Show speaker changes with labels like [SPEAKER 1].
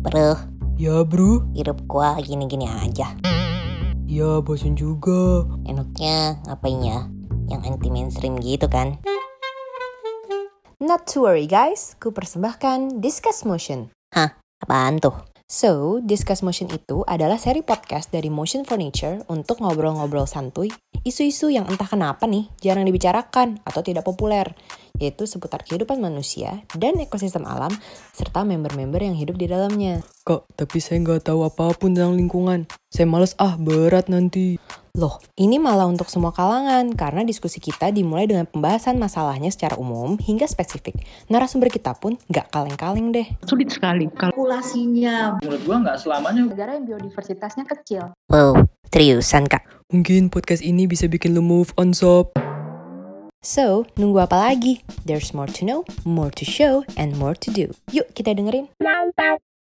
[SPEAKER 1] Bro,
[SPEAKER 2] Ya bro,
[SPEAKER 1] hidup gua gini-gini aja.
[SPEAKER 2] ya bosan juga.
[SPEAKER 1] Enaknya ngapain ya? Yang anti mainstream gitu kan?
[SPEAKER 3] Not to worry guys, ku persembahkan Discuss Motion.
[SPEAKER 1] Apaan tuh?
[SPEAKER 3] So, Discuss Motion itu adalah seri podcast dari Motion Furniture untuk ngobrol-ngobrol santuy, isu-isu yang entah kenapa nih jarang dibicarakan atau tidak populer, yaitu seputar kehidupan manusia dan ekosistem alam, serta member-member yang hidup di dalamnya.
[SPEAKER 2] Kak, tapi saya nggak tahu apapun tentang lingkungan. Saya males ah, berat nanti.
[SPEAKER 3] Loh, ini malah untuk semua kalangan karena diskusi kita dimulai dengan pembahasan masalahnya secara umum hingga spesifik. Narasumber kita pun nggak kaleng-kaleng deh.
[SPEAKER 4] sulit sekali kalau
[SPEAKER 5] populasinya
[SPEAKER 6] menurut gua nggak selamanya
[SPEAKER 5] negara yang biodiversitasnya kecil
[SPEAKER 1] Wow, seriusan kak?
[SPEAKER 2] Mungkin podcast ini bisa bikin lu move on sob.
[SPEAKER 3] So, nunggu apa lagi? There's more to know, more to show, and more to do. Yuk kita dengerin.